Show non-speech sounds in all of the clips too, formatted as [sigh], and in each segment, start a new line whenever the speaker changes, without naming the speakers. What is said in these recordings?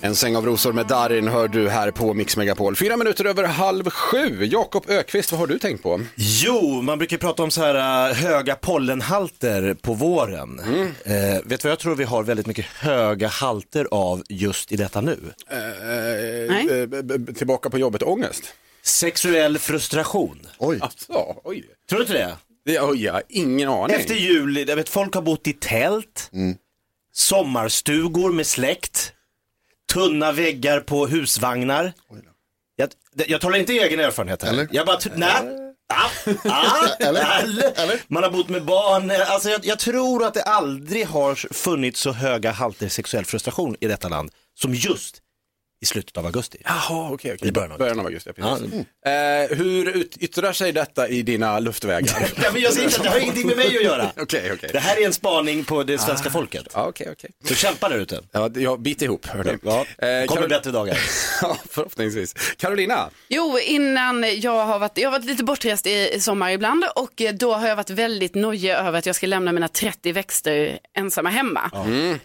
En säng av rosor med Darin hör du här på Mix Megapol. Fyra minuter över halv sju. Jakob Ökvist, vad har du tänkt på? Eh,
Jo, man brukar ju prata om så här äh, höga pollenhalter på våren. Eh, vet du vad jag tror vi har väldigt mycket höga halter av just i detta nu?
Eh, eh, b- b- tillbaka på jobbet, ångest?
Sexuell frustration.
Oj. Alltså, oj.
Tror du inte det?
Det, oj, jag har ingen aning.
Efter jul, jag vet folk har bott i tält,
Mm.
sommarstugor med släkt, tunna väggar på husvagnar. Jag, det- jag talar inte i egen erfarenhet här.
Eller?
Jag bara, t- nej. Ah, ah,
[laughs] Eller?
eller?
Eller?
Man har bott med barn. Alltså jag, jag tror att det aldrig har funnits så höga halter sexuell frustration i detta land som just i slutet av augusti.
Jaha, okej. okej.
I början av
augusti. ja, precis. Eh, hur ut- yttrar sig detta i dina luftvägar?
Ja, men jag säger inte att det har ingenting med mig
[laughs]
att göra.
Okej, okej.
Det här är en spaning på det svenska folket.
Ja, okej, okej.
Så kämpa där ute.
Ja, det- jag bit ihop, hörni.
Ja,
Eh,
kommer
Karol-
bättre dagar.
[laughs] ja, förhoppningsvis. Carolina,
Jo, innan jag har varit, jag har varit lite bortrest i i sommar ibland och eh, då har jag varit väldigt nojig över att jag ska lämna mina 30 växter ensamma hemma.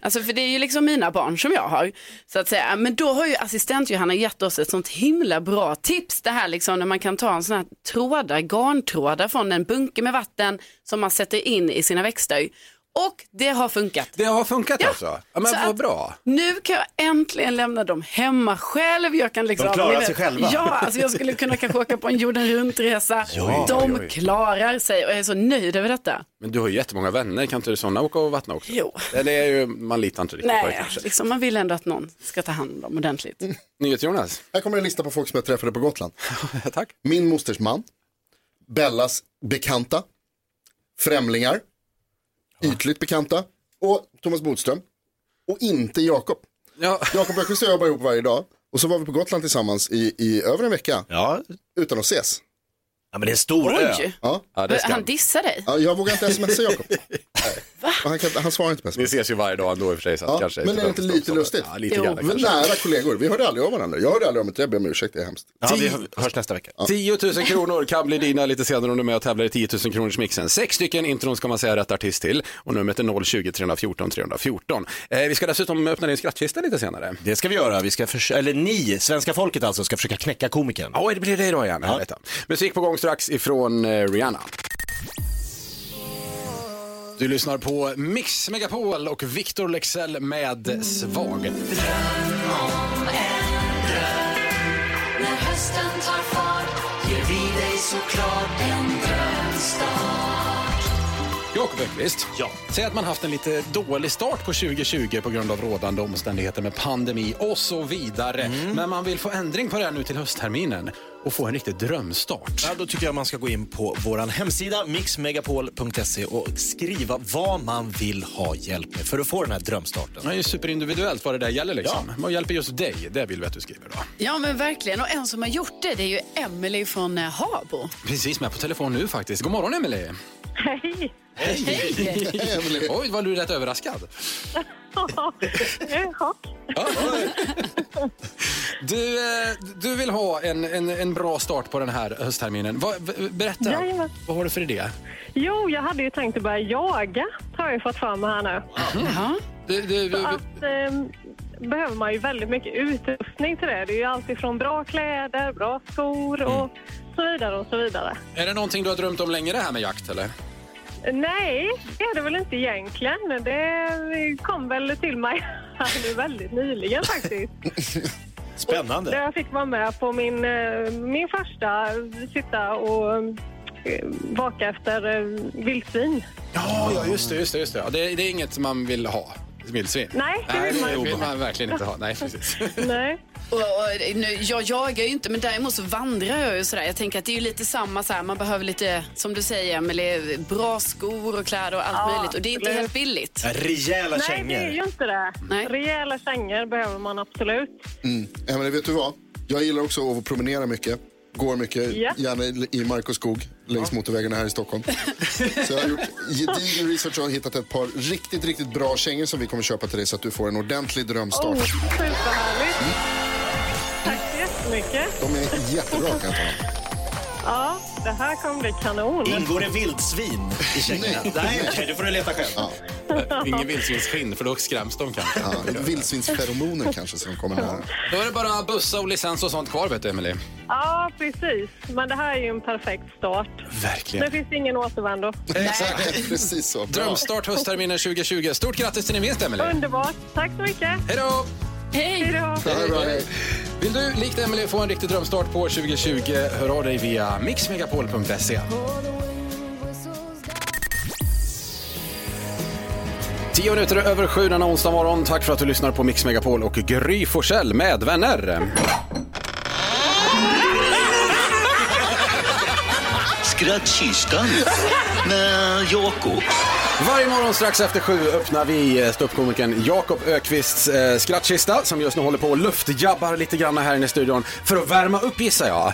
Alltså för det är ju liksom mina barn som jag har. Så att säga. Men då har ju assistent Johanna gett oss ett sånt himla bra tips. Det här liksom när man kan ta en sån här trådar, garntrådar från en bunke med vatten som man sätter in i sina växter. Och det har funkat.
det har funkat alltså? Ja, men
Så
vad
att-
bra.
Nu kan jag äntligen lämna dem hemma själv. Jag kan liksom,
De klarar
ni vet-
sig själva.
Ja, alltså jag skulle kunna kanske åka på en jorden
[laughs]
runt-resa. De klarar sig och jag är så nöjd över detta.
Men du har ju jättemånga vänner, kan inte du sådana åka och vattna också?
Jo.
Eller är ju, man litar inte riktigt på det
Nej,
kanske.
liksom, man vill ändå att någon ska ta hand om dem ordentligt.
NyhetsJonas,
[laughs] Här kommer en lista på folk som jag träffade på Gotland.
tack.
Min mosters man, Bellas bekanta, främlingar, ytligt bekanta och Thomas Bodström. Och inte Jakob.
Ja,
Jakob Öqvist och jag jobbar ihop varje dag. Och så var vi på Gotland tillsammans i, i över en vecka
Ja,
utan att ses.
Ja men det är en stor ö.
Oj,
Ja.
ja det ska
han dissar dig.
Ja, jag vågar inte smsa Jakob. Och han, kan, han svarar inte på
Vi
sms.
ses ju varje dag ändå i och för sig. Så att
Ja,
kanske
men är det inte lite lustigt?
Ja, lite
Jo.
grann
Vi är
kanske.
nära kollegor, vi hörde aldrig av varandra. Jag hörde aldrig om det, jag ber om ursäkt, det är hemskt.
Ja, vi hö- hörs nästa vecka.
10 000 kronor kan bli dina lite senare om du är med och tävlar i 10 000 kronors mixen. Sex stycken intron ska man säga rätt artist till och numret är 020 314 314. Eh, vi ska dessutom öppna din skrattkista lite senare.
Det ska vi göra. Vi ska förs- eller ni, svenska folket alltså, ska försöka knäcka komikern.
Ja, det blir det idag igen. Ja. Musik på gång strax ifrån eh, Rihanna. Du lyssnar på Mix Megapol och Victor Lexell med Svag.
När hösten tar fart ger vi dig såklart en drömstart.
Jakob Ekqvist,
Ja.
säg att man haft en lite dålig start på 2020 på grund av rådande omständigheter med pandemi och så vidare. Men man vill få ändring på det här nu till höstterminen och få en riktig drömstart.
Ja, då tycker jag man ska gå in på vår hemsida mixmegapol.se och skriva vad man vill ha hjälp med för att få den här drömstarten.
Det är ju superindividuellt vad det där gäller liksom. Vad hjälper just dig? Det vill vi att du skriver då.
Ja, men verkligen. Och en som har gjort det, det är ju Emily från eh, Habo.
Precis, med på telefon nu faktiskt. God morgon Emelie!
Hej! [laughs]
Emelie.
[laughs] Oj, var du rätt överraskad?
Jag är i chock.
[laughs] Ja. du, eh, du vill ha en, en, en bra start på den här höstterminen. Vad- v- berätta,
Jajamän.
vad har du för idé?
Jo, jag hade ju tänkt att börja jaga, har jag ju fått fram här nu.
Ja.
Du, du, du,
Att, ehm, behöver man ju väldigt mycket utrustning till det. Det är ju allt ifrån bra kläder, bra skor och så vidare och så vidare.
Är det någonting du har drömt om länge det här med jakt eller?
Nej, det är det väl inte egentligen. Det kom väl till mig [laughs] här nu väldigt nyligen faktiskt. Där
Spännande.
jag fick vara med på min, eh, min första sitta och eh, vaka efter eh, vildsvin.
Ja, ja just det, just det. Just det. Ja, det, det är inget man vill ha. Vildsvin?
Nej, det vill man
det
inte.
vill man verkligen inte ha. Nej,
[laughs]
precis.
Nej.
Och, och, nu, jag jagar ju inte, men däremot så vandrar jag ju sådär. Jag tänker att det är ju lite samma så här, man behöver lite, som du säger Emelie, bra skor och kläder och allt möjligt. Och det är inte
absolut.
helt billigt.
Rejäla
Nej, det är ju
kängor.
inte det.
Nej.
Rejäla kängor behöver man absolut.
Emelie, vet du vad? Jag gillar också att promenera mycket, går mycket,
Ja.
gärna i- i mark och skog. längs motorvägarna här i Stockholm. Så jag har gjort gedigen research och har hittat ett par riktigt, riktigt bra kängor som vi kommer köpa till dig så att du får en ordentlig drömstart.
Oh, Superhärligt.
Mm.
Tack så jättemycket.
De är jättebra kan jag tala om.
Ja, det här kommer bli kanon.
Ingår det vildsvin i kängorna? Nej, okej, det får du leta själv.
Ingen vildsvinsskinn, för då skräms de kanske.
Ja, vildsvinsferomoner kanske som kommer här.
Då är det bara bussa och licens och sånt kvar, vet du, Emily.
Ja, precis. Men det här är ju en perfekt start.
Verkligen.
Nu finns det ingen återvändo.
[laughs] Exakt, precis så. Bra.
Drömstart höstterminen 2020. Stort grattis till din vinst, Emily.
Underbart. Tack så mycket.
Hej då!
Hej då.
Ja, det är bra, hej.
Vill du, likt Emily få en riktig drömstart på år 2020, hör av dig via mixmegapol.se. Tio minuter över sju denna onsdag morgon. Tack för att du lyssnar på Mix Megapol och Gry Forssell med vänner.
Skrattkistan med Jakob.
Varje morgon strax efter sju öppnar vi eh, ståuppkomikern Jakob Ökvists eh, skrattkista som just nu håller på och luftjabbar lite grann här inne i studion för att värma upp gissar jag.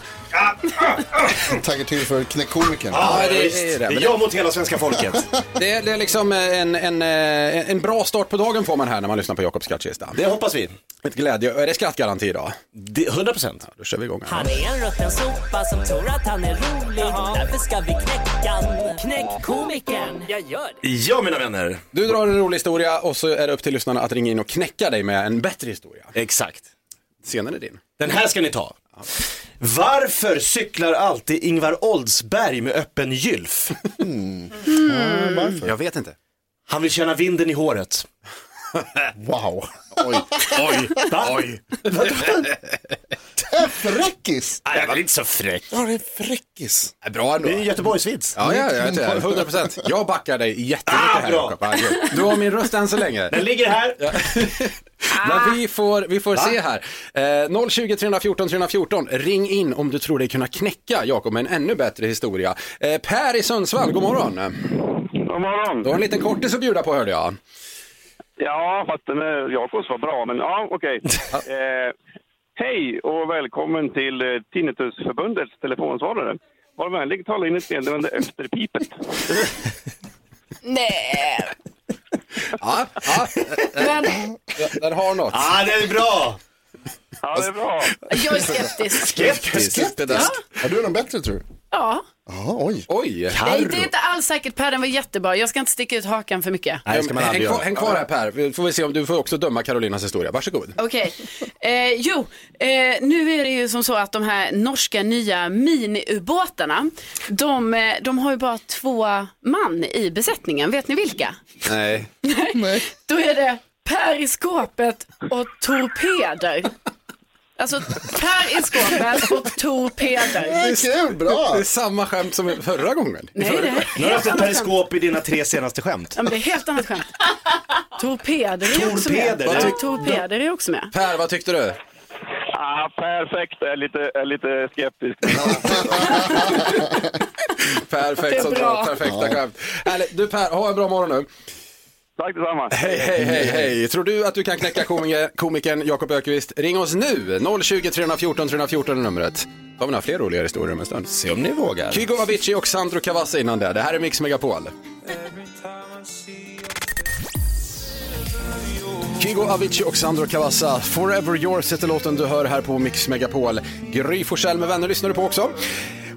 Taggar till för knäckkomikern.
Ja, det är
visst.
det,
det
men
är
det-
jag mot hela svenska folket.
Det är, det är liksom eh, en, en, eh, en bra start på dagen får man här när man lyssnar på Jakobs skrattkista.
Det hoppas vi.
Ett glädje, är det skrattgaranti idag?
Det- 100 procent.
Då kör vi igång. här.
Han är en rutten sopa som tror att han är rolig. Därför ska vi knäcka han. Knäck komikern. Jag gör det.
Ja, mina vänner.
Du drar en rolig historia och så är det upp till lyssnarna att ringa in och knäcka dig med en bättre historia.
Exakt.
Scenen är din.
Den här ska ni ta. Varför cyklar alltid Ingvar Oldsberg med öppen gylf? Mm.
Jag vet inte.
Han vill känna vinden i håret.
Wow. Oj.
Oj, oj.
Fräckis!
Nej, jag var inte så fräck.
Ja, det är fräckis.
Äh, Bra ändå.
Det är en Göteborgsvits.
Ja, ja, jag vet det.
[laughs]
100 procent. Jag backar dig jättemycket
Ah,
här
bra.
Jakob. Ja, gud. Du har min röst än så länge.
Den ligger här. Ah.
Men vi får, vi får se här. Eh, 020 314 314, ring in om du tror dig kunna knäcka Jakob med en ännu bättre historia. Eh, per i Sundsvall, god morgon.
God morgon.
Du har en liten kortis att bjuda på hörde jag.
Ja, fast den är Jakobs var bra, men ja,
[laughs]
okej. eh, hej och välkommen till eh, Tinnitusförbundets telefonsvarare. Var vänlig tala in ett meddelande efter pipet.
Nej.
Ja,
[laughs]
ja,
Men
den har något.
Ah, det är bra.
Ja, det är bra.
jag är skeptisk.
Skeptisk. Det där.
Har du någon bättre tror du?
Ja.
Ja, oj.
Oj.
Nej, det är inte alls säkert. Per, den var jättebra. Jag ska inte sticka ut hakan för mycket.
Nej, det ska man
häng,
aldrig
kvar,
göra.
häng kvar här Per, Vi får vi se om du får också döma Carolinas historia. Varsågod.
Okej. Eh, jo, eh, nu är det ju som så att de här norska nya miniubåtarna, de, eh, de har ju bara två man i besättningen. Vet ni vilka?
Nej.
Nej.
Då är det periskopet och torpeder. Alltså periskopet och torpeder.
Det är kul, bra.
Det är samma skämt som förra gången.
Nej, det är
Nu har du haft
helt
ett
annat skämt.
periskop i dina tre senaste skämt.
Ja, men det är helt annat skämt. Torpeder är ju också med.
Torpeder,
Ja,
ja.
torpeder är också med.
Per, vad tyckte du?
Ah, perfekt, jag är lite, jag är lite skeptisk.
[laughs] Perfekt, så
Det är bra.
bra. Perfekta skämt. Härligt. Du Per, ha en bra morgon nu.
Tack detsamma.
Hej, hej, hej, hej. Tror du att du kan knäcka komiker, komikern Jakob Ökvist? Ring oss nu! 020 314 314 är numret. Då har vi några fler roliga historier om en stund.
Se om ni vågar.
Kygo Avicii och Sandro Cavazza innan det. Det här är Mix Megapol. Kygo Avicii och Sandro Cavazza, Forever Yours heter låten du hör här på Mix Megapol. Gry Forssell med vänner lyssnar du på också.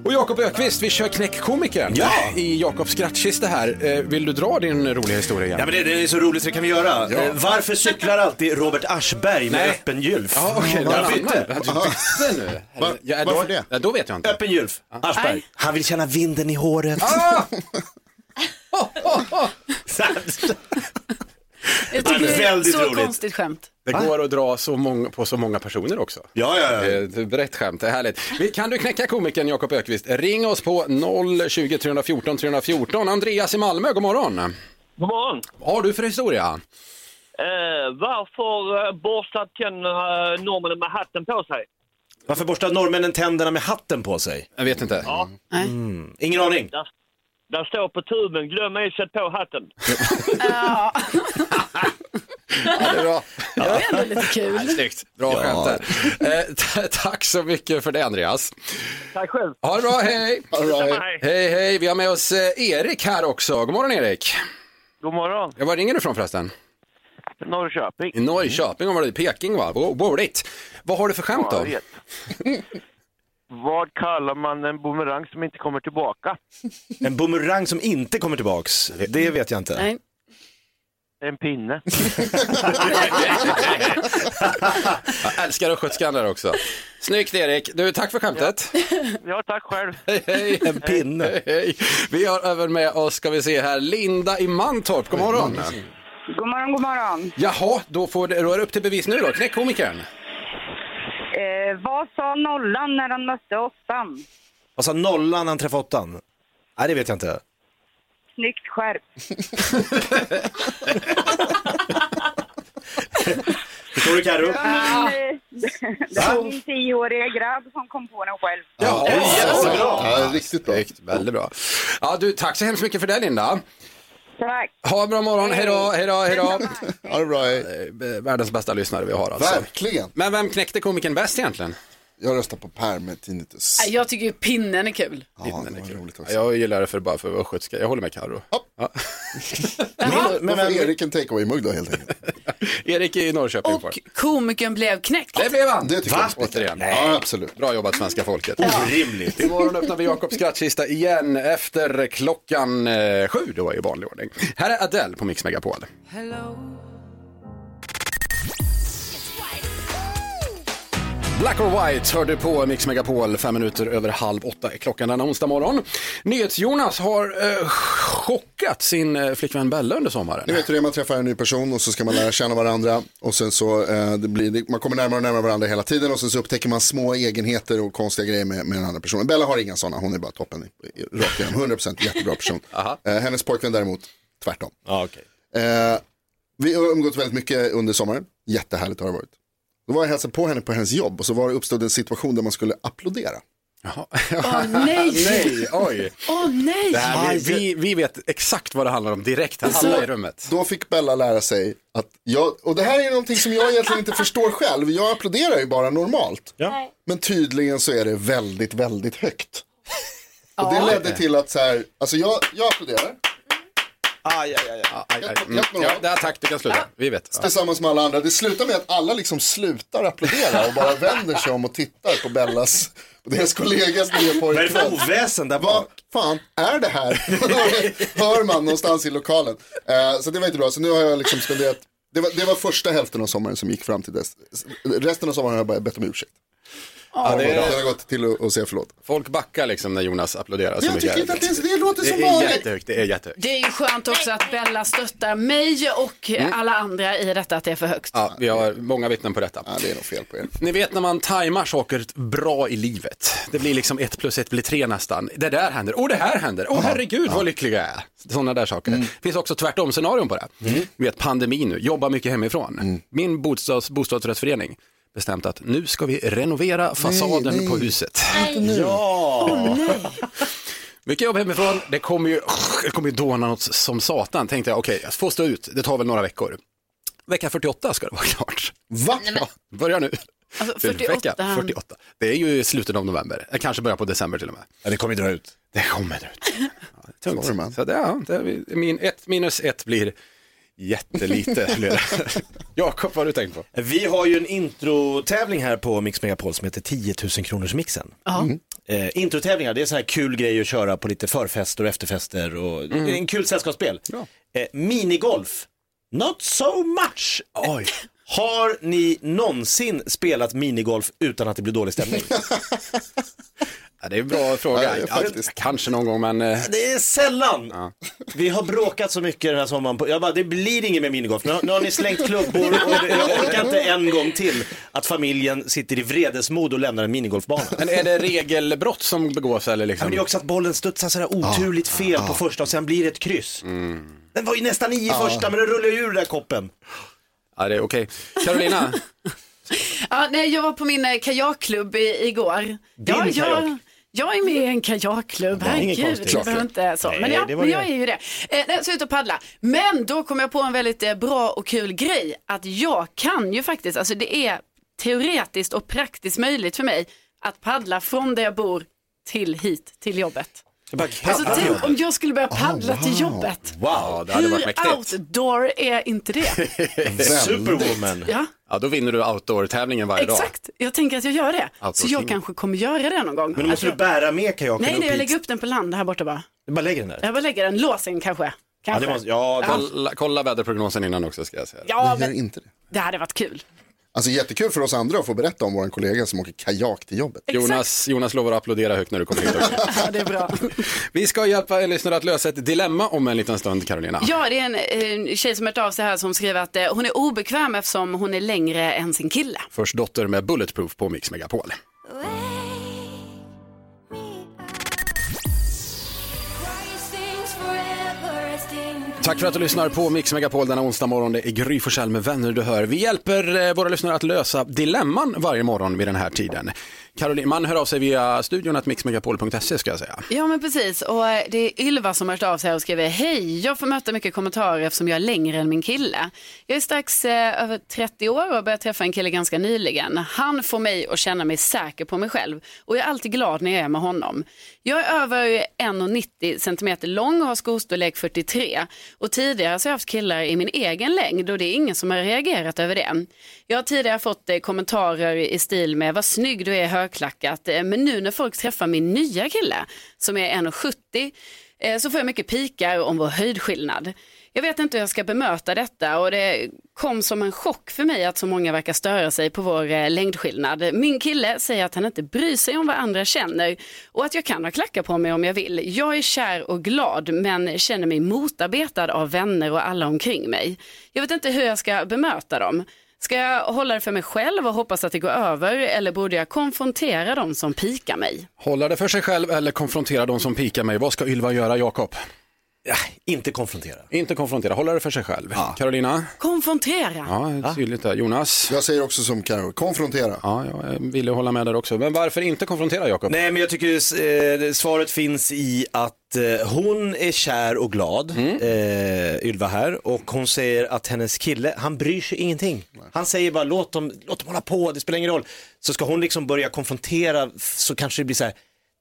Och Jakob Ökvist, vi kör knäckkomikern
Ja!
i Jakobs skrattkista här. Eh, Vill du dra din roliga historia igen?
Ja, men det, det är så roligt så det kan vi göra.
Ja.
Eh, varför cyklar alltid Robert Aschberg med
Nej.
öppen gylf? Mm.
Ja, okej. det var
jag
en annan.
bytte.
Jag bytte nu.
Va-
Ja,
varför
då,
det?
ja, då vet jag inte.
Öppen gylf. Aschberg.
Nej.
Han vill känna vinden i håret.
Jag
Ja,
tycker
det är
det är
väldigt
så
roligt.
konstigt skämt.
[laughs] Det går att dra så många, på så många personer också.
Ja, ja, ja.
Eh, det är Brett skämt, det är härligt. Vi- Kan du knäcka komikern Jakob Ökvist? Ring oss på 020 314 314. Andreas i Malmö, god morgon.
God morgon.
Vad har du för historia?
Eh, varför eh, borstar tänderna norrmännen med hatten på sig?
Varför borstar norrmännen tänderna med hatten på sig?
Jag vet inte.
Ingen aning.
Där står på tuben, glöm ej sätt på hatten.
Ja, det är bra.
Det var ändå lite kul.
Ja, snyggt. Bra
Ja.
skämt där. Eh, t- tack så mycket för det Andreas.
Tack själv.
Ha det bra, hej!
Detsamma,
hej. hej, hej. Vi har med oss eh, Erik här också. God morgon Erik!
God morgon!
Ja, var ringer du ifrån förresten?
Norrköping.
I Norrköping, mm. var det i Peking va? Wo- Roligt! Vad har du för skämt
Ja, jag
då?
vet. Vad kallar man en boomerang som inte kommer tillbaka?
En bumerang som inte kommer tillbaks, det vet jag inte.
En pinne.
Jag älskar östgötskan där också. Snyggt Erik! Du, tack för skämtet!
ja, tack själv.
Hej, hej. En pinne. Hej, hej. Vi har även med oss, ska vi se här, Linda i Mantorp. God morgon.
God morgon, god morgon.
Jaha, då, får det, då är det upp till bevis nu då. Knäck komikern.
Eh, vad sa nollan när han mötte åttan?
Vad sa nollan när han träffade åttan? Nej, det vet jag inte.
Snyggt skärp.
Förstår du Carro?
Det var min, eh, det var min tioåriga grabb som kom på den själv.
Ja,
jättebra.
Ja, riktigt bra. Riktigt, väldigt bra. Ja, du, tack så hemskt mycket för det Linda.
Tack.
Ha en bra morgon, hej då, hej då, hej då. Ha det bra, Världens bästa lyssnare vi har alltså.
Verkligen.
Men vem knäckte komikern bäst egentligen?
Jag röstar på Per med tinnitus.
Nej, Jag tycker ju pinnen är kul.
Ja, det var roligt också.
Jag gillar det för bara för östgötska. Jag håller med Carro. Ja.
Men, men, men Erik en takeaway-mugg då helt enkelt.
Erik i Norrköping. Och...
Komikern blev knäckt.
Det blev han! Det
tycker
Va?
jag.
Återigen. Ja, absolut. Bra jobbat svenska folket.
Orimligt.
Imorgon öppnar vi Jakobs skrattkista igen efter klockan eh, sju då i vanlig ordning. Här är Adele på Mix Megapol. Black or White hör du på Mix Megapol, fem minuter över halv åtta är klockan denna onsdag morgon. NyhetsJonas har eh, chockat sin eh, flickvän Bella under sommaren.
Ni vet hur det är, man träffar en ny person och så ska man lära känna varandra och sen så eh, det blir, det, man kommer närmare och närmare varandra hela tiden och sen så upptäcker man små egenheter och konstiga grejer med, med den andra personen. Bella har inga sådana, hon är bara toppen, i- i- rakt igenom, 100%
[laughs]
jättebra person. Eh, hennes pojkvän däremot, tvärtom.
Ja, okej.
Eh, vi har umgått väldigt mycket under sommaren, jättehärligt har det varit. Då var jag och hälsade på henne på hennes jobb och så var det uppstod en situation där man skulle applådera.
Åh nej!
Nej, oj.
Åh nej!
Det här, vi, vi, vi vet exakt vad det handlar om direkt här, alla i rummet.
Då fick Bella lära sig att jag, och det här är någonting som jag egentligen inte förstår själv, jag applåderar ju bara normalt. Men tydligen så är det väldigt, väldigt högt. Och det
Ja.
ledde till att så här, alltså jag, jag applåderar,
Aj, aj, aj. aj, aj. Mm.
Hjälp mig
Ja,
då.
där, tack, du kan sluta. Vi vet. Ja.
tillsammans med alla andra, det slutar med att alla liksom slutar applådera och bara vänder sig om och tittar på Bellas, på deras kollegas nya
Vad är
pojkvän.
det för oväsen där
Vad
bak?
fan är det här? [laughs] Hör man någonstans i lokalen. Eh, så det var inte bra, så nu har jag liksom spenderat, det var, det var första hälften av sommaren som gick fram till dess. Resten av sommaren har jag bara bett om ursäkt.
Ja, det
det,
är-
har gått till att att säga förlåt.
Folk backar liksom när Jonas applåderar. så
Jag
mycket
tycker
här.
inte att det, är- det låter som
Det är
vanligt.
jättehögt, det är jättehögt.
Det är ju skönt också att Bella stöttar mig och
Mm.
alla andra i detta att det är för högt.
Ja, vi har många vittnen på detta.
det är nog fel på er.
Ni vet när man tajmar saker bra i livet. Det blir liksom ett plus ett blir tre nästan. Det där händer, och det här händer, åh herregud vad lycklig jag är. Sådana där
Mm.
saker. Det finns också tvärtom scenarion på det. Vi vet pandemi nu, jobba mycket hemifrån.
Mm.
Min bostads, bostadsrättsförening bestämt att nu ska vi renovera fasaden
nej.
på huset.
Ja!
Mycket jobb hemifrån, det kommer ju, det kommer ju dåna något som satan. Tänkte jag, okej, jag får stå ut, det tar väl några veckor. Vecka 48 ska det vara klart.
Va?
Ja, börja nu.
Alltså,
Till
48.
Vecka 48. Det är ju i slutet av november, Eh, kanske början på december till och med.
Ja, det kommer ju dra ut.
Det kommer dra ut. Ja, det är tungt.
Sorry, man.
Så det, ja, det, min ett minus ett blir jättelite. [laughs] blir det. Jakob, vad har du tänkt på?
Vi har ju en introtävling här på Mix Megapol som heter 10 000 kronors mixen.
Mm.
Eh, introtävlingar, det är sådana här kul grejer att köra på lite förfester och efterfester och det är en kul sällskapsspel. Eh, minigolf, not so much. Har ni någonsin spelat minigolf utan att det blir dålig stämning?
Ja, det är en bra fråga. Ja, kanske någon gång, men eh,
Det är sällan. Vi har bråkat så mycket den här sommaren. På, jag bara, det blir inget med minigolf. Nu har, nu har ni slängt klubbor och det- jag orkar inte en gång till att familjen sitter i vredesmod och lämnar en minigolfbana.
men är det regelbrott som begås eller
Ja, men
liksom?
det är också att bollen studsar sådär oturligt fel på första och sen blir det ett kryss.
Mm.
Den var ju nästan i i första men den rullar ju ur den där koppen.
Ja, det är okej. Carolina,
Ja, nej, jag var på min eh, kajakklubb i, igår.
Din
ja,
kajak?
jag, Jag är med i en kajakklubb,
Det var inget
herregud.
konstigt.
Jag behöver inte så.
Nej,
Men ja,
det var
men
det.
jag är ju det. Eh, nej, så ut och paddla. Men då kom jag på en väldigt eh, bra och kul grej. Att jag kan ju faktiskt, alltså det är teoretiskt och praktiskt möjligt för mig att paddla från där jag bor till hit, till jobbet. Alltså tänk om jag skulle börja paddla till jobbet.
Wow, det hade varit
Hur
mäktigt.
outdoor är inte det?
Superwoman.
Ja.
Ja, då vinner du outdoor-tävlingen varje dag.
Exakt, jag tänker att jag gör det.
Outdoor
Så jag
king.
kanske kommer göra det någon gång.
Men då måste
Att
du
jag...
Bära med
Alltså-
kajaken
Nej,
upp
nej, jag
hit.
lägger upp den på land här borta bara.
Bara lägger den där.
Jag bara lägger den, låsen kanske.
Ja,
kanske.
Kolla, kolla väderprognosen innan också ska jag säga.
Ja,
men...
men-
Gör inte det.
Det hade varit kul.
Alltså jättekul för oss andra att få berätta om vår kollega som åker kajak till jobbet.
Jonas, Jonas lovar att applådera högt när du kommer
[laughs]
hit också.
det är bra.
Vi ska hjälpa en lyssnare att lösa ett dilemma om en liten stund, Carolina.
Ja, det är en, eh, en tjej som hört av sig här som skriver att eh, hon är obekväm eftersom hon är längre än sin kille.
Först Dotter med Bulletproof på Mix Megapol. Tack för att du
[laughs]
lyssnar på Mix Megapol denna onsdag morgon. Det är Gry Forssell med vänner du hör. Vi hjälper eh, våra lyssnare att lösa dilemman varje morgon vid den här tiden. Caroline, man hör av sig via studion att mixmegapol.se ska jag säga.
Ja, men precis. Och eh, det är Ylva som har hört av sig här och skriver Hej, jag får möta mycket kommentarer eftersom jag är längre än min kille. Jag är strax eh, över 30 år och har börjat träffa en kille ganska nyligen. Han får mig att känna mig säker på mig själv och jag är alltid glad när jag är med honom. Jag är över 1,90 centimeter lång och har skostorlek 43 och tidigare så har jag haft killar i min egen längd och det är ingen som har reagerat över det. Jag har tidigare fått eh, kommentarer i stil med vad snygg du är i högklackat eh, men nu när folk träffar min nya kille som är 1,70 eh, så får jag mycket pikar om vår höjdskillnad. Jag vet inte hur jag ska bemöta detta och det kom som en chock för mig att så många verkar störa sig på vår eh, längdskillnad. Min kille säger att han inte bryr sig om vad andra känner och att jag kan ha klackar på mig om jag vill. Jag är kär och glad men känner mig motarbetad av vänner och alla omkring mig. Jag vet inte hur jag ska bemöta dem. Ska jag hålla det för mig själv och hoppas att det går över eller borde jag konfrontera dem som pikar mig?
Hålla det för sig själv eller konfrontera de som pikar mig. Vad ska Ylva göra, Jakob?
inte konfrontera.
Inte konfrontera, hålla det för sig själv. Carolina?
Konfrontera.
Ja, tydligt där. Jonas?
Jag säger också som Carro, konfrontera.
Ja, jag ville hålla med där också. Men varför inte konfrontera, Jakob?
Nej, men jag tycker eh, svaret finns i att eh, hon är kär och glad, eh, Ylva här, och hon säger att hennes kille, han bryr sig ingenting. Han säger bara låt dem, låt dem hålla på, det spelar ingen roll. Så ska hon liksom börja konfrontera f- så kanske det blir så här,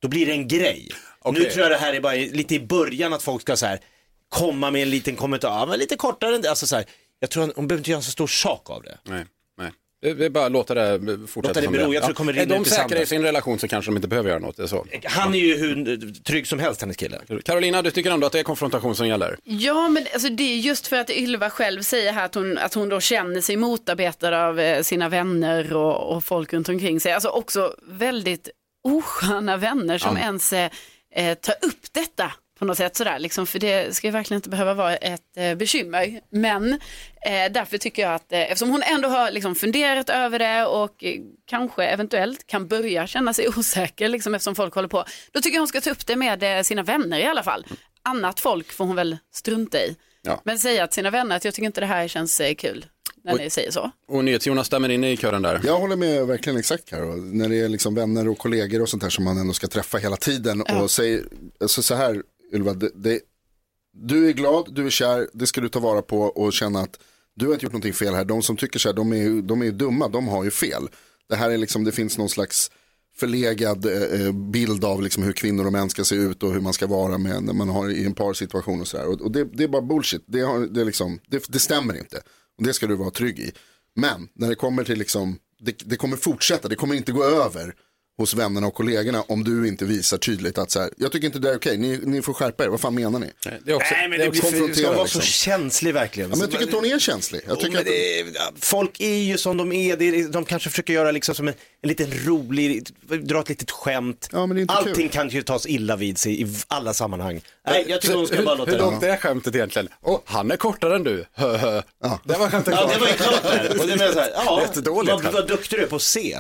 då blir det en grej. Nu tror jag det här är bara i- lite i början att folk ska så här, komma med en liten kommentar, ja, men lite kortare än det, alltså så här, jag tror hon, hon behöver inte göra en så stor sak av det.
Nej, nej. Det det är bara att låta det fortsätta
Låta det
som
bero, jag tror det kommer
är
rinna
de
ut i
säkra
sanden.
i sin relation så kanske de inte behöver göra något. Det är så.
Han är ju hur trygg som helst, hennes kille.
Carolina, du tycker ändå att det är konfrontation som gäller?
Ja, men alltså, det är just för att Ylva själv säger här att hon, att hon då känner sig motarbetad av eh, sina vänner och, och folk runt omkring sig. Alltså också väldigt osköna vänner som
Ja.
ens eh, eh, tar upp detta på något sätt sådär, liksom, för det ska ju verkligen inte behöva vara ett eh, bekymmer. Men eh, därför tycker jag att eh, eftersom hon ändå har liksom, funderat över det och eh, kanske eventuellt kan börja känna sig [laughs] osäker liksom, eftersom folk håller på, då tycker jag hon ska ta upp det med eh, sina vänner i alla fall. Annat folk får hon väl strunta i.
Ja.
Men säga till sina vänner att jag tycker inte det här känns eh, kul när
Oj.
ni säger så.
Och NyhetsJonas stämmer in i kören där.
Jag håller med verkligen exakt Karo. När det är liksom vänner och kollegor och sånt där som man ändå ska träffa hela tiden. Och säg, alltså så här Ylva, det, det, du är glad, du är kär, det ska du ta vara på och känna att du har inte gjort någonting fel här. De som tycker så här, de är ju de är ju dumma, de har ju fel. Det här är liksom, det finns någon slags förlegad eh, eh, bild av liksom hur kvinnor och män ska se ut och hur man ska vara med när man har i en parsituation och sådär. Och, och det, det är bara bullshit, det, har, det, är liksom, det, det stämmer inte. Och det ska du vara trygg i. Men när det kommer till liksom, det, det kommer fortsätta, det kommer inte gå över hos vännerna och kollegorna om du inte visar tydligt att så här, jag tycker inte det är okej, ni, ni får skärpa er, vad fan menar ni?
Det är också,
Nej, men det, blir för, ska
konfrontera
hon vara
liksom.
så känslig verkligen?
Ja, men jag tycker inte hon är känslig. Jag
Alltså, Jo,
tycker
men
att...
det är- Folk är ju som de är, det är, de kanske försöker göra liksom som en, en liten rolig, dra ett litet skämt.
inte
Allting
kul.
kan ju tas illa vid sig i alla sammanhang. Nej, jag tycker hon ska
Hur-
bara låta
Hur
det
långt är skämtet egentligen? Åh, han är kortare än du. [laughs] Hö, hö. Det var skämtet
Ja, det var ju klart där. Och det menar jag så här, ja,
Jättedåligt
vad,
skämt.
vad duktig du är på att se.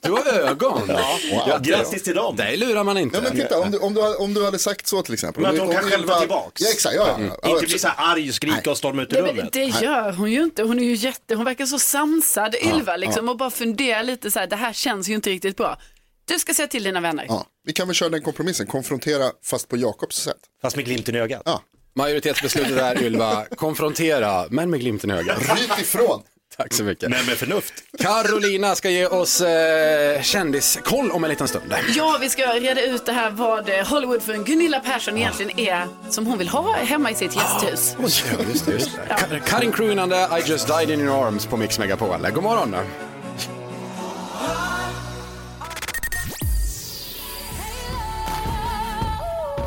Du har ögon.
Ja, grattis till dem.
Det lurar man inte.
Ja, men titta, om du, om, du, om du hade sagt så till exempel. Om
Men att
du-
hon
om
kan
du
skämta
var-
tillbaks. Mm.
Ja, exakt. Ja, ja, ja,
Inte bli så här arg och skrika och storma ut ur
Nej, men
rummet.
det gör hon ju inte. Hon är ju jätte, hon verkar så sansad,
Ja,
Ylva, liksom,
ja.
och bara funderar lite så här, det här känns ju inte riktigt bra. Du ska säga till dina vänner.
Ja, vi kan väl köra den kompromissen, konfrontera fast på Jakobs sätt.
Fast med glimten i ögat.
Ja.
Majoritetsbeslutet är Ylva, konfrontera, men med glimten i ögat.
Ryt ifrån.
Tack så mycket.
Men med förnuft.
Carolina ska ge oss eh, kändiskoll om en liten stund.
Ja, vi ska reda ut det här vad eh, Hollywood för en Gunilla Persson egentligen är som hon vill ha hemma i sitt gästhus.
Just det, just det. Ka- Karin Croonande, I just died in your arms på Mix Megapol. God morgon.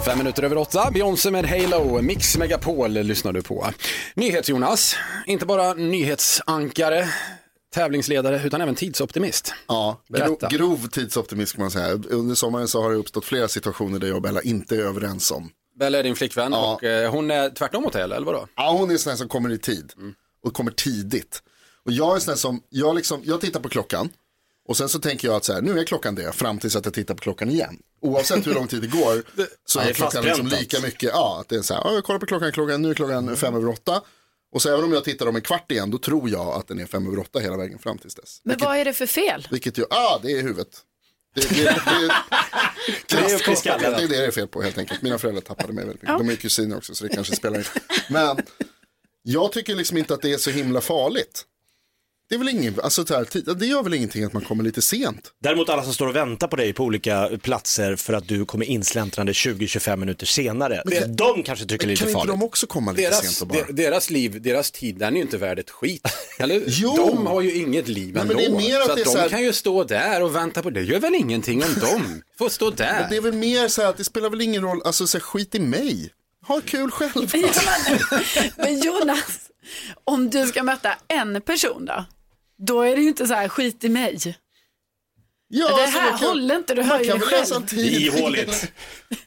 Fem minuter över åtta, Beyoncé med Halo, Mix Megapol lyssnar du på. NyhetsJonas, inte bara nyhetsankare, tävlingsledare, utan även tidsoptimist.
Ja, Gro,
Berätta.
grov tidsoptimism kan man säga. Under sommaren så har det uppstått flera situationer där jag och Bella inte är överens om.
Bella är din flickvän och eh, hon är tvärtom mot dig, eller eller vadå?
Ja, hon är en sån här som kommer i tid
Mm.
och kommer tidigt. Och jag är en sån här som, jag, liksom, jag tittar på klockan och sen så tänker jag att så här, nu är klockan det fram tills att jag tittar på klockan igen. Oavsett hur lång tid det går så
Ja, [laughs] det
är
är
klockan liksom
fastbränt
lika
alltså.
mycket, ja, att det är så här, ja, jag kollar på klockan, klockan, nu är
Mm.
klockan fem över åtta. Och så även om jag tittar om en kvart igen, då tror jag att den är fem över åtta hela vägen fram tills dess.
Men vad är det för fel?
Vilket ju, ah, det är i huvudet. Det, det, det,
[laughs]
det,
är upp i skallen.
det är det det är fel på helt enkelt. Mina föräldrar tappade mig väldigt mycket. De är ju kusiner också så det kanske spelar in. Men jag tycker liksom inte att det är så himla farligt. Det, är väl ingen, alltså, så här, tid- det gör väl ingenting att man kommer lite sent.
Däremot alla som står och väntar på dig på olika platser för att du kommer insläntrande 20-25 minuter senare.
Men-
de kanske tycker det är lite
Kan inte
farligt.
de också komma lite
Deras,
sent och bara?
de- deras liv, deras tid, den är ju inte värd
[laughs]
ett skit. Eller?
Jo.
De har ju inget liv
Nej,
ändå.
men det är mer att
så att
det är
de
så här-
kan ju stå där och vänta på det. Det gör väl ingenting om
[laughs]
de får stå där.
Men det är väl mer så här att det spelar väl ingen roll, alltså så här, skit i mig. Ha kul själv. alltså.
Men Jonas, om du ska möta en person då? Då är det ju inte så här skit i mig.
Ja,
det
alltså,
här
man kan-
håller inte, du hör ju
kan
det
väl läsa en
själv.
tidning. [laughs]
Ihåligt.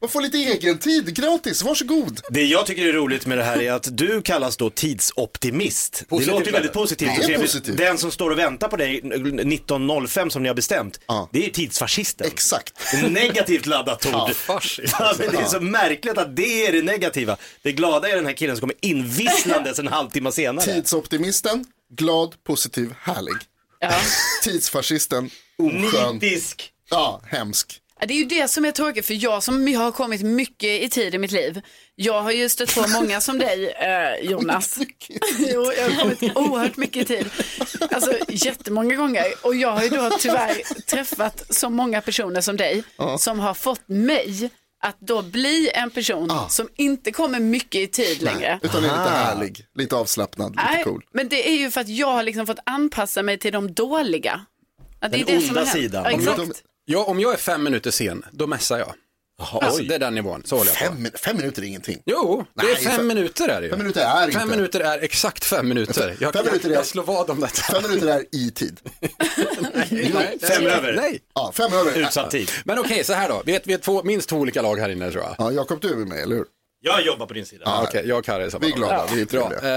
Man får lite egen tid gratis, varsågod.
Det jag tycker är roligt med det här är att du kallas då tidsoptimist.
Positivt.
det låter ju väldigt positivt.
Ja,
och
det är
trevligt.
positivt.
Den som står och väntar på dig 19.05 som ni har bestämt, det är ju tidsfascisten.
Exakt.
Negativt laddat ord.
Ja, fascist.
Ja, men det är så märkligt att det är det negativa. Det glada är den här killen som kommer invisslandes en halvtimme senare.
Tidsoptimisten, glad, positiv, härlig. [laughs] Tidsfascisten, oskön.
Nitisk.
Ja, hemsk.
Ja, Det är ju det som är tråkigt för jag som har kommit mycket i tid i mitt liv. Jag har ju stött
[laughs]
på många som dig eh, Jonas. Jo, jag har kommit oerhört mycket i tid. Alltså jättemånga gånger. Och jag har ju då tyvärr träffat så många personer som dig som har fått mig att då bli en person som inte kommer mycket i tid längre.
Utan är lite härlig, lite avslappnad, lite
Nej,
cool.
men det är ju för att jag har liksom fått anpassa mig till de dåliga. Att det är det som har hänt. Ja,
Om
exakt.
jag, ja, om jag är fem minuter sen, då mässar jag. alltså, det är den nivån, så håller jag på.
Fem, min- fem minuter är ingenting.
Jo, det är
Nej,
fem
fem-
minuter är det ju.
fem minuter är
Fem
inte-
minuter är exakt fem minuter. Jag,
Fem minuter är-
jag slår vad om detta.
Fem minuter är i tid.
Nej,
Fem
nej,
över.
Nej.
Ja, fem över.
Utsatt tid.
Men okej, så här då. Vi är, vi är två, minst två olika lag här inne tror jag.
Ja, Jakob, du är med mig, eller hur?
Jag jobbar på din sida.
Ja, Okej, jag och Carro är samma
Vi är glada,
lag.
vi är
Bra.
trevliga.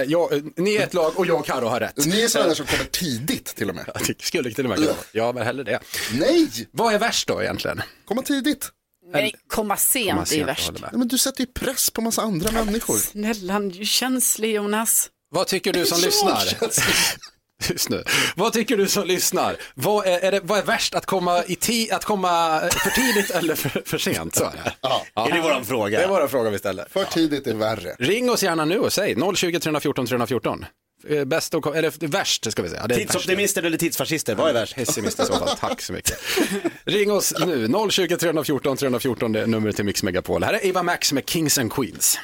Eh, jag, ni är ett lag och jag och Carro har rätt.
Ni är sådana där som kommer tidigt till och med.
Det Skulle till och med kunna vara. Ja, men hellre det.
Nej,
Vad är värst då egentligen?
komma tidigt.
Nej, komma sent
Om man
är ju
ser att jag
värst.
håller
Nej,
med.
men du sätter ju press på massa andra människor.
Snälla, du är känslig Jonas.
Vad tycker du som lyssnar? [laughs] Just nu. Vad tycker du som lyssnar? Vad är, är, det, vad är värst att komma, i ti, att komma för tidigt eller för, för sent? Så är det.
Ja,
Är det våran fråga?
Det är våra frågor vi ställer.
för tidigt är värre.
Ring oss gärna nu och säg 020 314 314. Eh, Bäst och, eller värst ska vi säga. Ja, det är värst.
Tidsoptimister eller tidsfascister, vad är värst?
pessimist i så fall. Tack så mycket. Ring oss nu, 020 314 314, det är numret till Mix Megapol. Här är Eva Max med Kings and Queens.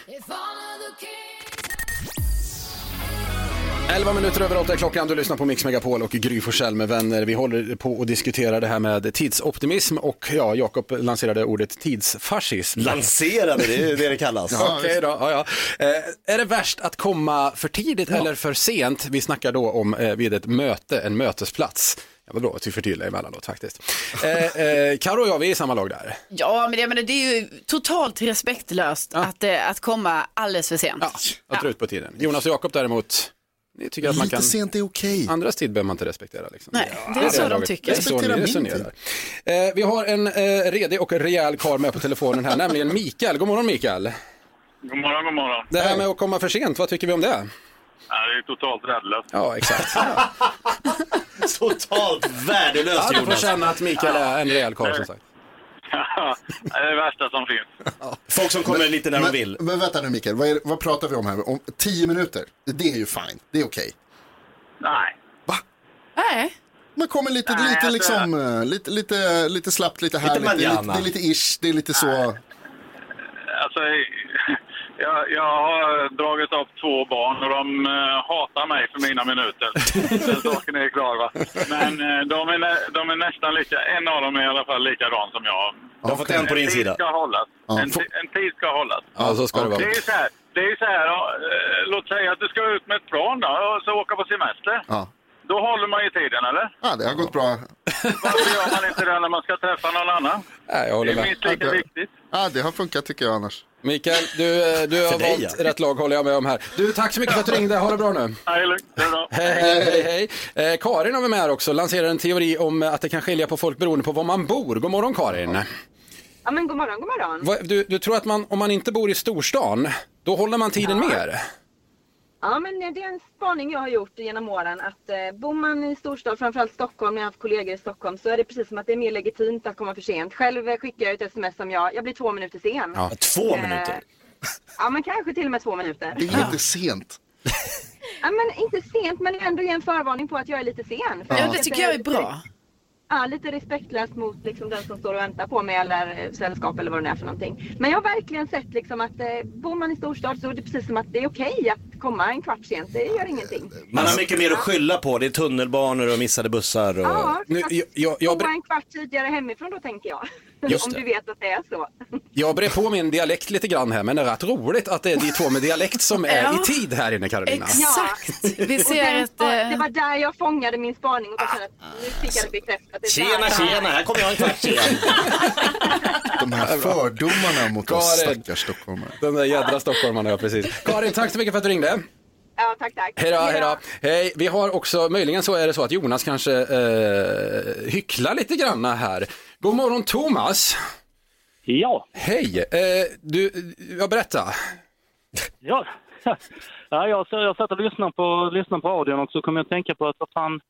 11 minuter över 8 klockan, du lyssnar på Mix Megapol och Gry Forssell med vänner. Vi håller på att diskutera det här med tidsoptimism och ja, Jakob lanserade ordet tidsfascism.
Lanserade, det är ju det det kallas.
Okej då, ja, ja. Eh, är det värst att komma för tidigt eller för sent? Vi snackar då om eh, vid ett möte, en mötesplats. Det var bra att vi förtydligade emellanåt faktiskt. Eh, eh, Karo och jag, vi är i samma lag där.
Ja, men det, men det är ju totalt respektlöst att, eh, att komma alldeles för sent.
Ja, att dra ut på tiden. Jonas och Jakob däremot, ni tycker att man
Lite
kan...
sent är okej.
Andras tid behöver man inte respektera. Liksom.
Nej, det är så de
laget.
tycker.
Det är så ni
Respektera min
resonerar. Eh, vi har en eh, redig och rejäl karl med på telefonen här, nämligen Mikael. God morgon Mikael.
God morgon, god morgon.
Det här med att komma för sent, vad tycker vi om det?
Ja, det är totalt värdelöst.
Ja, exakt.
Totalt värdelöst
Ja, du får
Jonas.
känna att Mikael är en rejäl karl som sagt.
det är det värsta som finns.
Folk som kommer lite när de
men,
vill.
Men vänta nu Mikael, vad, är, det- vad pratar vi om här? Om tio minuter, det är ju fine, det är okej.
Nej.
Nej.
Man kommer lite,
Nej,
lite,
alltså-
liksom, eh, lite, lite, lite slappt, lite här, lite, lite,
manana.
det är lite ish, det är lite så.
Alltså, jag, jag har dragit upp två barn och de eh, hatar mig för mina minuter. Den saken är klar va. Men eh, de är, nä, de är nästan lika, en av dem är i alla fall likadan som jag.
Du har fått en på din
tid
sida.
Ska hållas.
Ja.
En, ti- en tid ska hållas.
Ja, så ska det vara.
Det är ju så här, det är ju så här ja, eh, låt säga att du ska ut med ett plan då, och så åka på semester.
Ja.
Då håller man ju tiden eller?
Ja, det har gått bra.
[laughs]
Varför gör man inte det när man ska träffa någon annan?
Nej, jag håller
det är
med.
minst lika viktigt.
Ja, det har funkat tycker jag annars.
Mikael, du, eh, du har
För dig,
valt
ja.
rätt lag håller jag med om här. Du, tack så mycket för att du ringde. Ha det bra nu.
Nej, lugnt. Det är bra.
Hej, hej, hej, hej. Eh, Karin har vi med här också, lanserar en teori om eh, att det kan skilja på folk beroende på var man bor. God morgon Karin.
Ja, men god morgon, god morgon.
Vad- Du, du tror att man, om man inte bor i storstan, då håller man tiden mer?
Ja, men det är en spaning jag har gjort genom åren att eh, bor man i storstad, framförallt Stockholm, när jag har haft kollegor i Stockholm, så är det precis som att det är mer legitimt att komma för sent. Själv eh, skickar jag ett sms som jag, jag blir två minuter sen.
Ja, två minuter.
Ja, men kanske till och med två minuter.
Det är inte
[laughs]
sent.
Ja, men inte sent, men ändå är en förvarning på att jag är lite sen. För
Ja,
jag
det tycker jag är bra.
Ja, lite respektlöst mot liksom, den som står och väntar på mig eller eh, sällskap eller vad det nu är för någonting. Men jag har verkligen sett liksom, att eh, bor man i storstad så är det precis som att det är okej att komma en kvart sent. Det gör ingenting.
Man har mycket mer att skylla på. Det är tunnelbanor och missade bussar. Och...
Ja, nu,
jag, jag,
komma en kvart tidigare hemifrån då tänker jag.
Just
Om
det.
du vet att det är så.
Jag brer på min dialekt lite grann här, men det är rätt roligt att det är de två med dialekt som är
Ja.
i tid här inne Karolina.
Exakt!
Vi
och
ser
sen,
ett, eh,
Det var där jag fångade min spaning och då kände jag att nu fick jag det bekräftat. Det är där
Tjena,
jag-
tjena, här kommer jag en kvart sen.
De här fördomarna mot oss
Karin.
stackars stockholmare.
De där jädra stockholmarna, ja precis. Karin, tack så mycket för att du ringde.
Ja, tack, tack.
Hej då, hej då. Hej, vi har också, möjligen så är det så att Jonas kanske eh, hycklar lite grann här. God morgon Thomas.
Ja.
Hej, eh, du, jag berätta.
Ja, [laughs] ja jag, så- jag satt och lyssnade på, lyssnade på radion och så kom jag att tänka på att vad fan,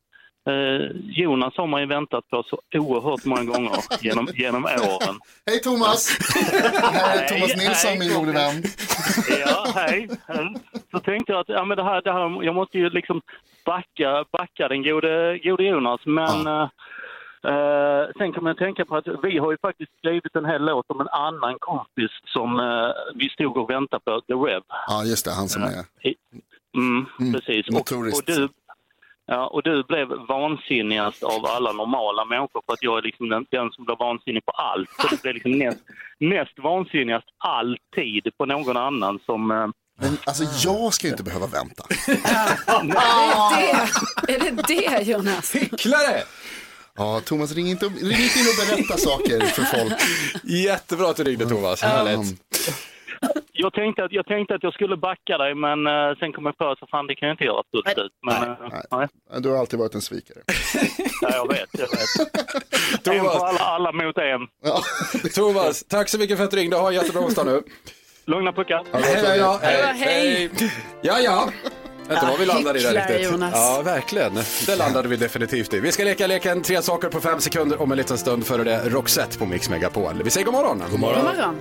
eh, Jonas har man ju väntat på så oerhört många gånger genom, genom åren.
Hej Thomas! [laughs] här är Thomas Nilsson, min gode vän.
Ja, hej. hej. Så tänkte jag att ja, men det här, det här, jag måste ju liksom backa, backa den gode, gode Jonas, men eh, eh, sen kom jag att tänka på att vi har ju faktiskt skrivit en hel låt om en annan kompis som eh, vi stod och väntade på, The Rev.
Ja, just det, han som är...
I- Mm, precis. Och, och,
motorist.
du, ja, och du blev vansinnigast av alla normala människor för att jag är liksom den, den som blir vansinnig på allt. Så du blev liksom näst, näst vansinnigast alltid på någon annan som... eh,
Men alltså jag ska ju inte behöva vänta.
Är det det? Är det det Jonas?
Hycklare!
Ja, Thomas ring inte, och- ring inte in och berätta saker för folk.
Jättebra att du ringde Thomas, härligt.
Jag tänkte, att, jag tänkte att jag skulle backa dig men eh, sen kom jag på att fan det kan jag inte göra fullt ut. Men, eh, nej.
Du har alltid varit en svikare.
Ja, jag vet, jag vet. en på alla, alla mot en.
Thomas, tack så mycket för att du ringde. Ha en jättebra onsdag nu.
Lugna puckar.
[laughs] Hej, hej, då.
Hej
hej,
då,
hej. Ja, ja. Vet du
Ja,
vad vi landade i där
hycklare,
riktigt?
Jonas.
Ja, verkligen. Det landade vi definitivt i. Vi ska leka leken tre saker på fem sekunder om en liten stund före det Roxette på Mix Megapol. Vi säger god morgon. God
God morgon.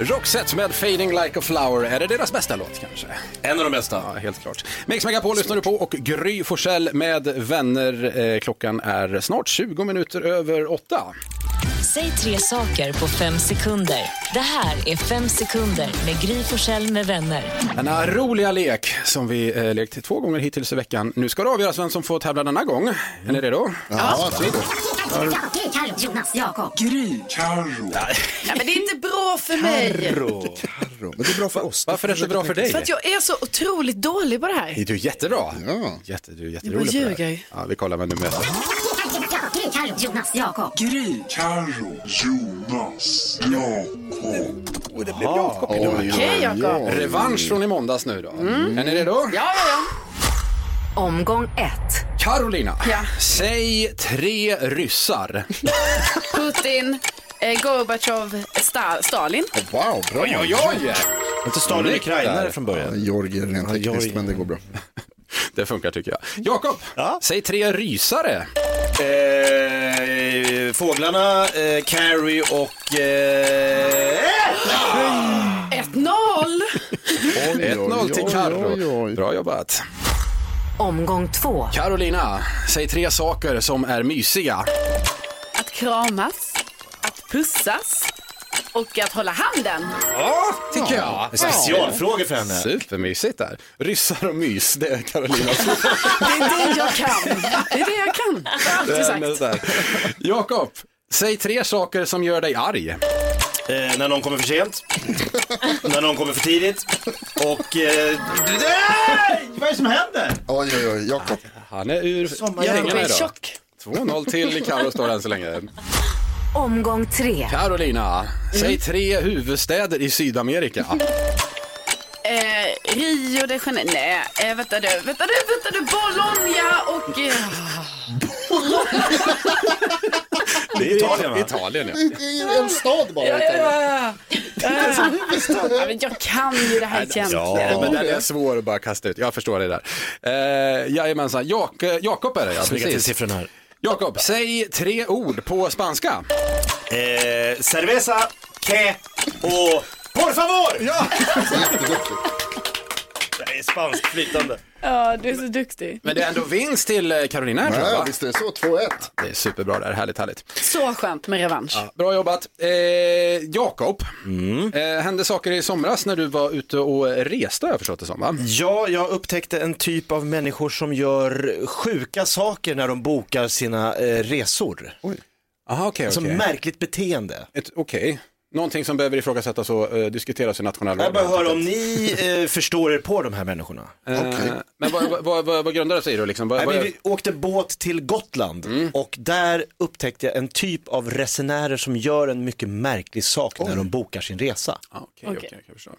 Roxette med Fading Like a Flower. Är det deras bästa låt kanske?
En av de bästa.
Ja, helt klart. Mix Megapol lyssnar du på och Gry Forssell med vänner. Eh, klockan är snart 20 minuter över åtta.
Säg tre saker på fem sekunder. Det här är Fem sekunder med Gry Forssell med vänner.
Denna roliga lek som vi eh, lekt två gånger hittills i veckan. Nu ska det avgöras vem som får tävla denna gång. Är ni redo?
Ja, absolut.
Gry, Carro, Jonas, Jakob.
Gry, Carro.
Ja, men det är inte bra för mig.
Men det är bra för oss.
Varför är det så bra för dig?
För att jag är så otroligt dålig på det här.
Du är jättebra. Ja. Jätte, du är jätterolig
Jag bara
på det här. Ja, vi kollar vem du möter.
Gry, Carro, Jonas, Jakob.
Gry, Carro, Jonas, Jakob.
Och det blev Jakob idag.
Okej, Jakob.
Revansch från i måndags nu då. Är ni redo? Ja,
ja,
ja. Omgång ett. Carolina, säg tre ryssar.
Putin, Eh, Gorbatjov Sta- Stalin.
Wow, bra.
Oj, oj, oj!
Inte Stalin ukrainare från början.
Georgier rent tekniskt,
Georgier.
men det går bra.
Det funkar tycker jag. Jakob, säg tre rysare.
Eh, fåglarna, eh, Carrie och... Eh...
1-0!
1-0 till Carro. Bra jobbat.
Omgång två.
Carolina, säg tre saker som är mysiga.
Att kramas, att pussas och att hålla handen.
Ja, tycker jag.
Det är specialfrågor
för henne.
Supermysigt där. Ryssar och mys, det är Carolinas
Det är det jag kan. Det är det jag kan. Det har jag alltid sagt.
Den är där. [laughs] Jakob, säg tre saker som gör dig arg.
Eh,
när någon kommer för sent. när någon kommer för tidigt. Och... Eh... Nej! Vad är det som händer?
Oj, oj, oj, Jakob.
Han är ur
Sommarjobb.
gängen
Jag är
idag.
tjock.
2-0 till Karo står det än så länge.
Omgång tre.
Carolina, säg tre huvudstäder i Sydamerika.
Eh, Rio de Janeiro. Nej, eh, vänta du. Vänta du, vänta du. Bologna och... Eh,
Det är
Italien, va?
Italien, ja.
Det är en stad bara.
ja, ja,
utan-
ja. Eh, ja, men jag kan ju det här egentligen.
Ja, men den är svår att bara kasta ut. Jag förstår det där. Eh, jajamensan, Jak- eh, Jakob är det ja,
Snygga till siffrorna här.
Jakob, säg tre ord på spanska.
Eh, cerveza, que och... Por favor! Ja! Det är spanskt flytande.
Ja, du är så duktig.
Men det är ändå vinst till eh, Carolina här tror jag,
Ja,
va?
visst är det så, 2-1.
Det är superbra där, härligt, härligt.
Så skönt med revansch.
Bra jobbat. Eh, Jakob, eh, hände saker i somras när du var ute och reste har jag förstått det som va?
Ja, jag upptäckte en typ av människor som gör sjuka saker när de bokar sina eh, resor.
Aha, okej,
Alltså
okej.
märkligt beteende.
Ett- Okej, någonting som behöver ifrågasättas och eh, diskuteras i nationella
Jag bara hör om ni eh, förstår er på de här människorna.
Eh, Men vad, vad, vad, vad, vad grundar det sig i då liksom? Vad,
Nej,
vad
men vi åkte båt till Gotland
Mm.
och där upptäckte jag en typ av resenärer som gör en mycket märklig sak när de bokar sin resa.
Ah, Okej, okej, okej, jag förstår.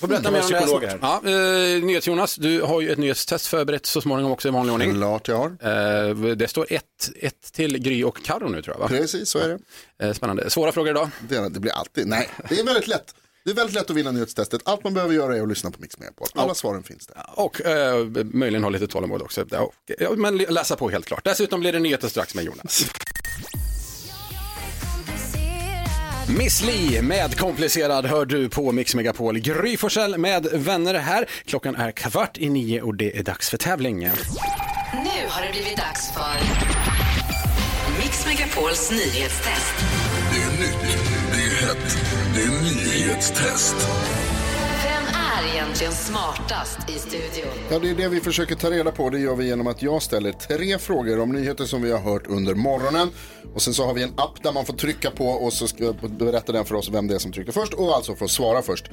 Får berätta mer om det
psykolog
här. Ja, eh, NyhetsJonas, du har ju ett nyhetstest förberett så småningom också i vanlig ordning.
Klart jag
har. det står ett, ett till Gry och Karo nu tror jag va?
Precis, så är det.
Eh, Spännande. Svåra frågor idag?
Det, det blir alltid, nej, det är väldigt lätt. Det är väldigt lätt att vinna nyhetstestet. Allt man behöver göra är att lyssna på Mix Megapol. Alla svaren finns där.
Och eh, möjligen ha lite tålamod också. Ja, och- ja, men läsa på helt klart. Dessutom blir det nyheter strax med Jonas. Miss Li med Komplicerad hör du på Mix Megapol. Gry Forssell med vänner här. Klockan är kvart i nio och det är dags för tävling.
Nu har det blivit dags för Mix Megapols nyhetstest.
Det är nytt, det är hett, det är nyhetstest.
Vem är egentligen smartast i studion?
Ja, det är det vi försöker ta reda på. Det gör vi genom att jag ställer tre frågor om nyheter som vi har hört under morgonen. Och sen så har vi en app där man får trycka på och så ska berätta den för oss vem det är som tryckte först och alltså får svara först.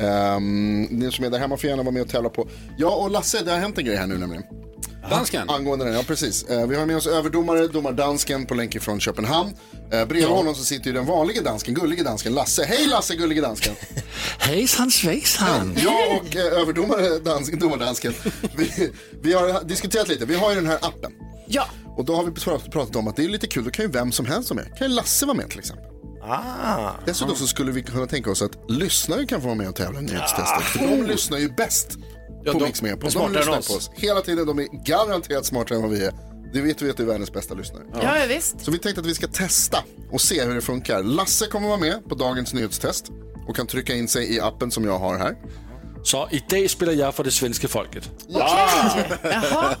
Um, ni som är där hemma får gärna vara med och tävla på. Ja, och Lasse, det har hänt en grej här nu nämligen.
Dansken?
Angående den, ja precis. Eh, vi har med oss överdomare, domardansken på länk från Köpenhamn. Uh, bredvid honom så sitter ju den vanlige dansken, gullige dansken, Lasse. Hej Lasse, gullige dansken!
Hejsan svejsan!
Jag och eh, överdomare dansk, domardansken, vi, vi har diskuterat lite. Vi har ju den här appen.
Ja.
Och då har vi pr- pratat om att det är lite kul, då kan ju vem som helst vara med. Kan ju Lasse vara med till exempel.
Ah.
Dessutom så skulle vi kunna tänka oss att lyssnare kan få vara med och tävla i nyhetstestet. För de lyssnar ju bäst
Ja,
på
de-
Mix Megapol.
de
De
smartare
lyssnar
än
på
oss.
oss hela tiden. De är garanterat smartare än vad vi är. Det vet vi att du är världens bästa lyssnare.
Ja, ja, visst.
Så vi tänkte att vi ska testa och se hur det funkar. Lasse kommer vara med på dagens nyhetstest och kan trycka in sig i appen som jag har här.
Så idag spelar jag för det svenska folket.
Jaha.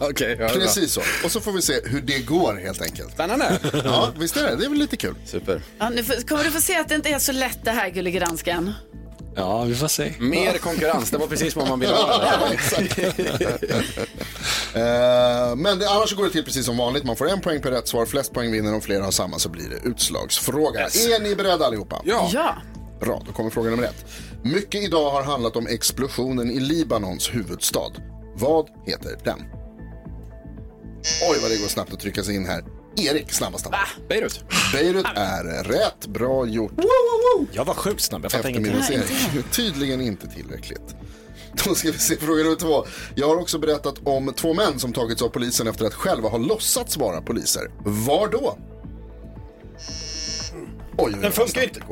Okej, ja, det är bra. Mm.
Precis så. Och så får vi se hur det går helt enkelt.
Spännande.
Ja, visst är det. Det är väl lite kul.
Super.
Ja, nu får- kommer du få se att det inte är så lätt det här, gullige dansken.
Ja, vi får se.
Mer konkurrens, det var precis vad man ville
[laughs]
ha.
Eh, men det, annars så går det till precis som vanligt. Man får en poäng per rätt svar. Flest poäng vinner. Om flera har samma så blir det utslagsfråga. Är ni beredda allihopa?
Ja.
Bra, då kommer fråga nummer ett. Mycket idag har handlat om explosionen i Libanons huvudstad. Vad heter den? Oj, vad det går snabbt att trycka sig in här. Erik, snabbast av alla.
Beirut.
Beirut är rätt. Bra gjort.
Jag var sjukt snabb, jag fattar ingenting.
Eftermiddags-Erik. Tydligen inte tillräckligt. Då ska vi se fråga nummer två. Jag har också berättat om två män som tagits av polisen efter att själva ha låtsats vara poliser. Var då? Oj,
Den funkar ju inte.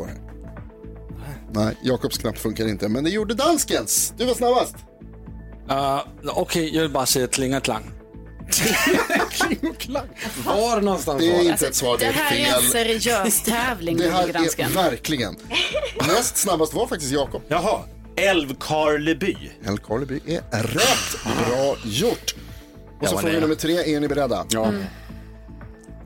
Nej, Jakobs knapp funkar inte, men det gjorde danskens. Du var snabbast.
Uh, Okej, jag vill bara säga klinga klang.
Var någonstans
Det
var
är
det?
inte
Alltså,
ett svar, det
Det
är ett
här är alltså en
fel.
seriös tävling,
Det här
Gullegransken.
är verkligen. Näst snabbast var faktiskt Jakob.
Jaha. Älvkarleby.
Älvkarleby är rätt. Bra gjort. Och
Jag
så
var
fråga
nära.
nummer tre. Är ni beredda?
Ja.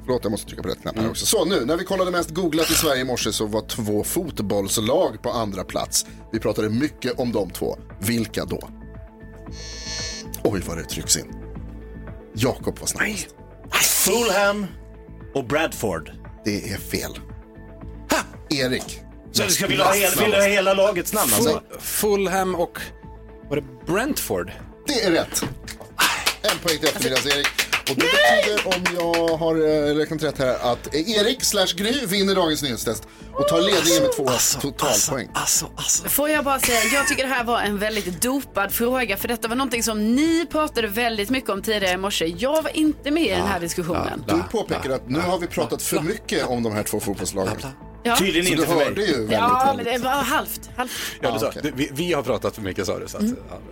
Förlåt, jag måste trycka på rätt
Mm.
knapp här också. Så nu, när vi kollade mest googlat i Sverige i morse så var två fotbollslag på andra plats. Vi pratade mycket om de två. Vilka då? Oj, vad det trycks in. Jakob var snabbast.
Fulham och Bradford.
Det är fel. Erik.
Så du ska vilja ha hela, vill du ha hela lagets namn alltså?
Full, Fulham och var det Brentford?
Det är rätt. En poäng till eftermiddags-Erik. Och det betyder, om jag har eh, räknat rätt här, att Erik slash Gry vinner dagens nyhetstest och tar ledningen med två
Alltså,
totalpoäng.
Får jag bara säga, jag tycker det här var en väldigt dopad fråga för detta var någonting som ni pratade väldigt mycket om tidigare i morse. Jag var inte med i den här diskussionen.
Du påpekar att nu har vi pratat för mycket om de här två fotbollslagen.
Ja.
Så du hörde ju väldigt,
Ja,
väldigt.
men det var halvt. halvt.
Ja, Mm. du sa, du, vi, vi har pratat för mycket sa du. Så att,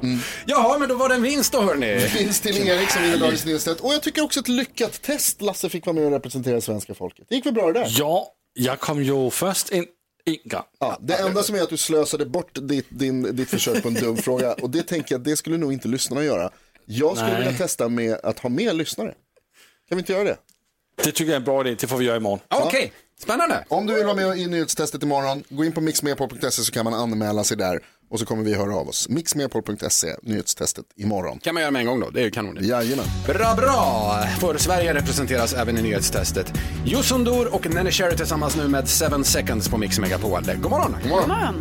ja. Jaha, men då var det en vinst då hörni.
Vinst till Erik som vinner dagens nyhetstest. Och jag tycker också ett lyckat test. Lasse fick vara med och representera svenska folket. Det gick väl bra det där?
Ja, jag kom ju först en, en gång.
Ja, det enda som är att du slösade bort ditt, din, ditt försök på
[laughs]
en dum fråga och det tänker jag, det skulle nog inte lyssnarna göra. Jag skulle
Nej.
vilja testa med att ha med lyssnare. Kan vi inte göra det?
Det tycker jag är en bra idé, det får vi göra imorgon.
spännande. Om du vill vara med i nyhetstestet imorgon, gå in på mixmepol.se så kan man anmäla sig där och så kommer vi höra av oss. Mixmepol.se, nyhetstestet imorgon.
kan man göra med en gång då, det är ju kanon.
Jajamän.
Bra, bra! För Sverige representeras även i nyhetstestet. Youssou N'Dour och Nanny Cherry tillsammans nu med 7 Seconds på Mix Megapol. God morgon! God
morgon.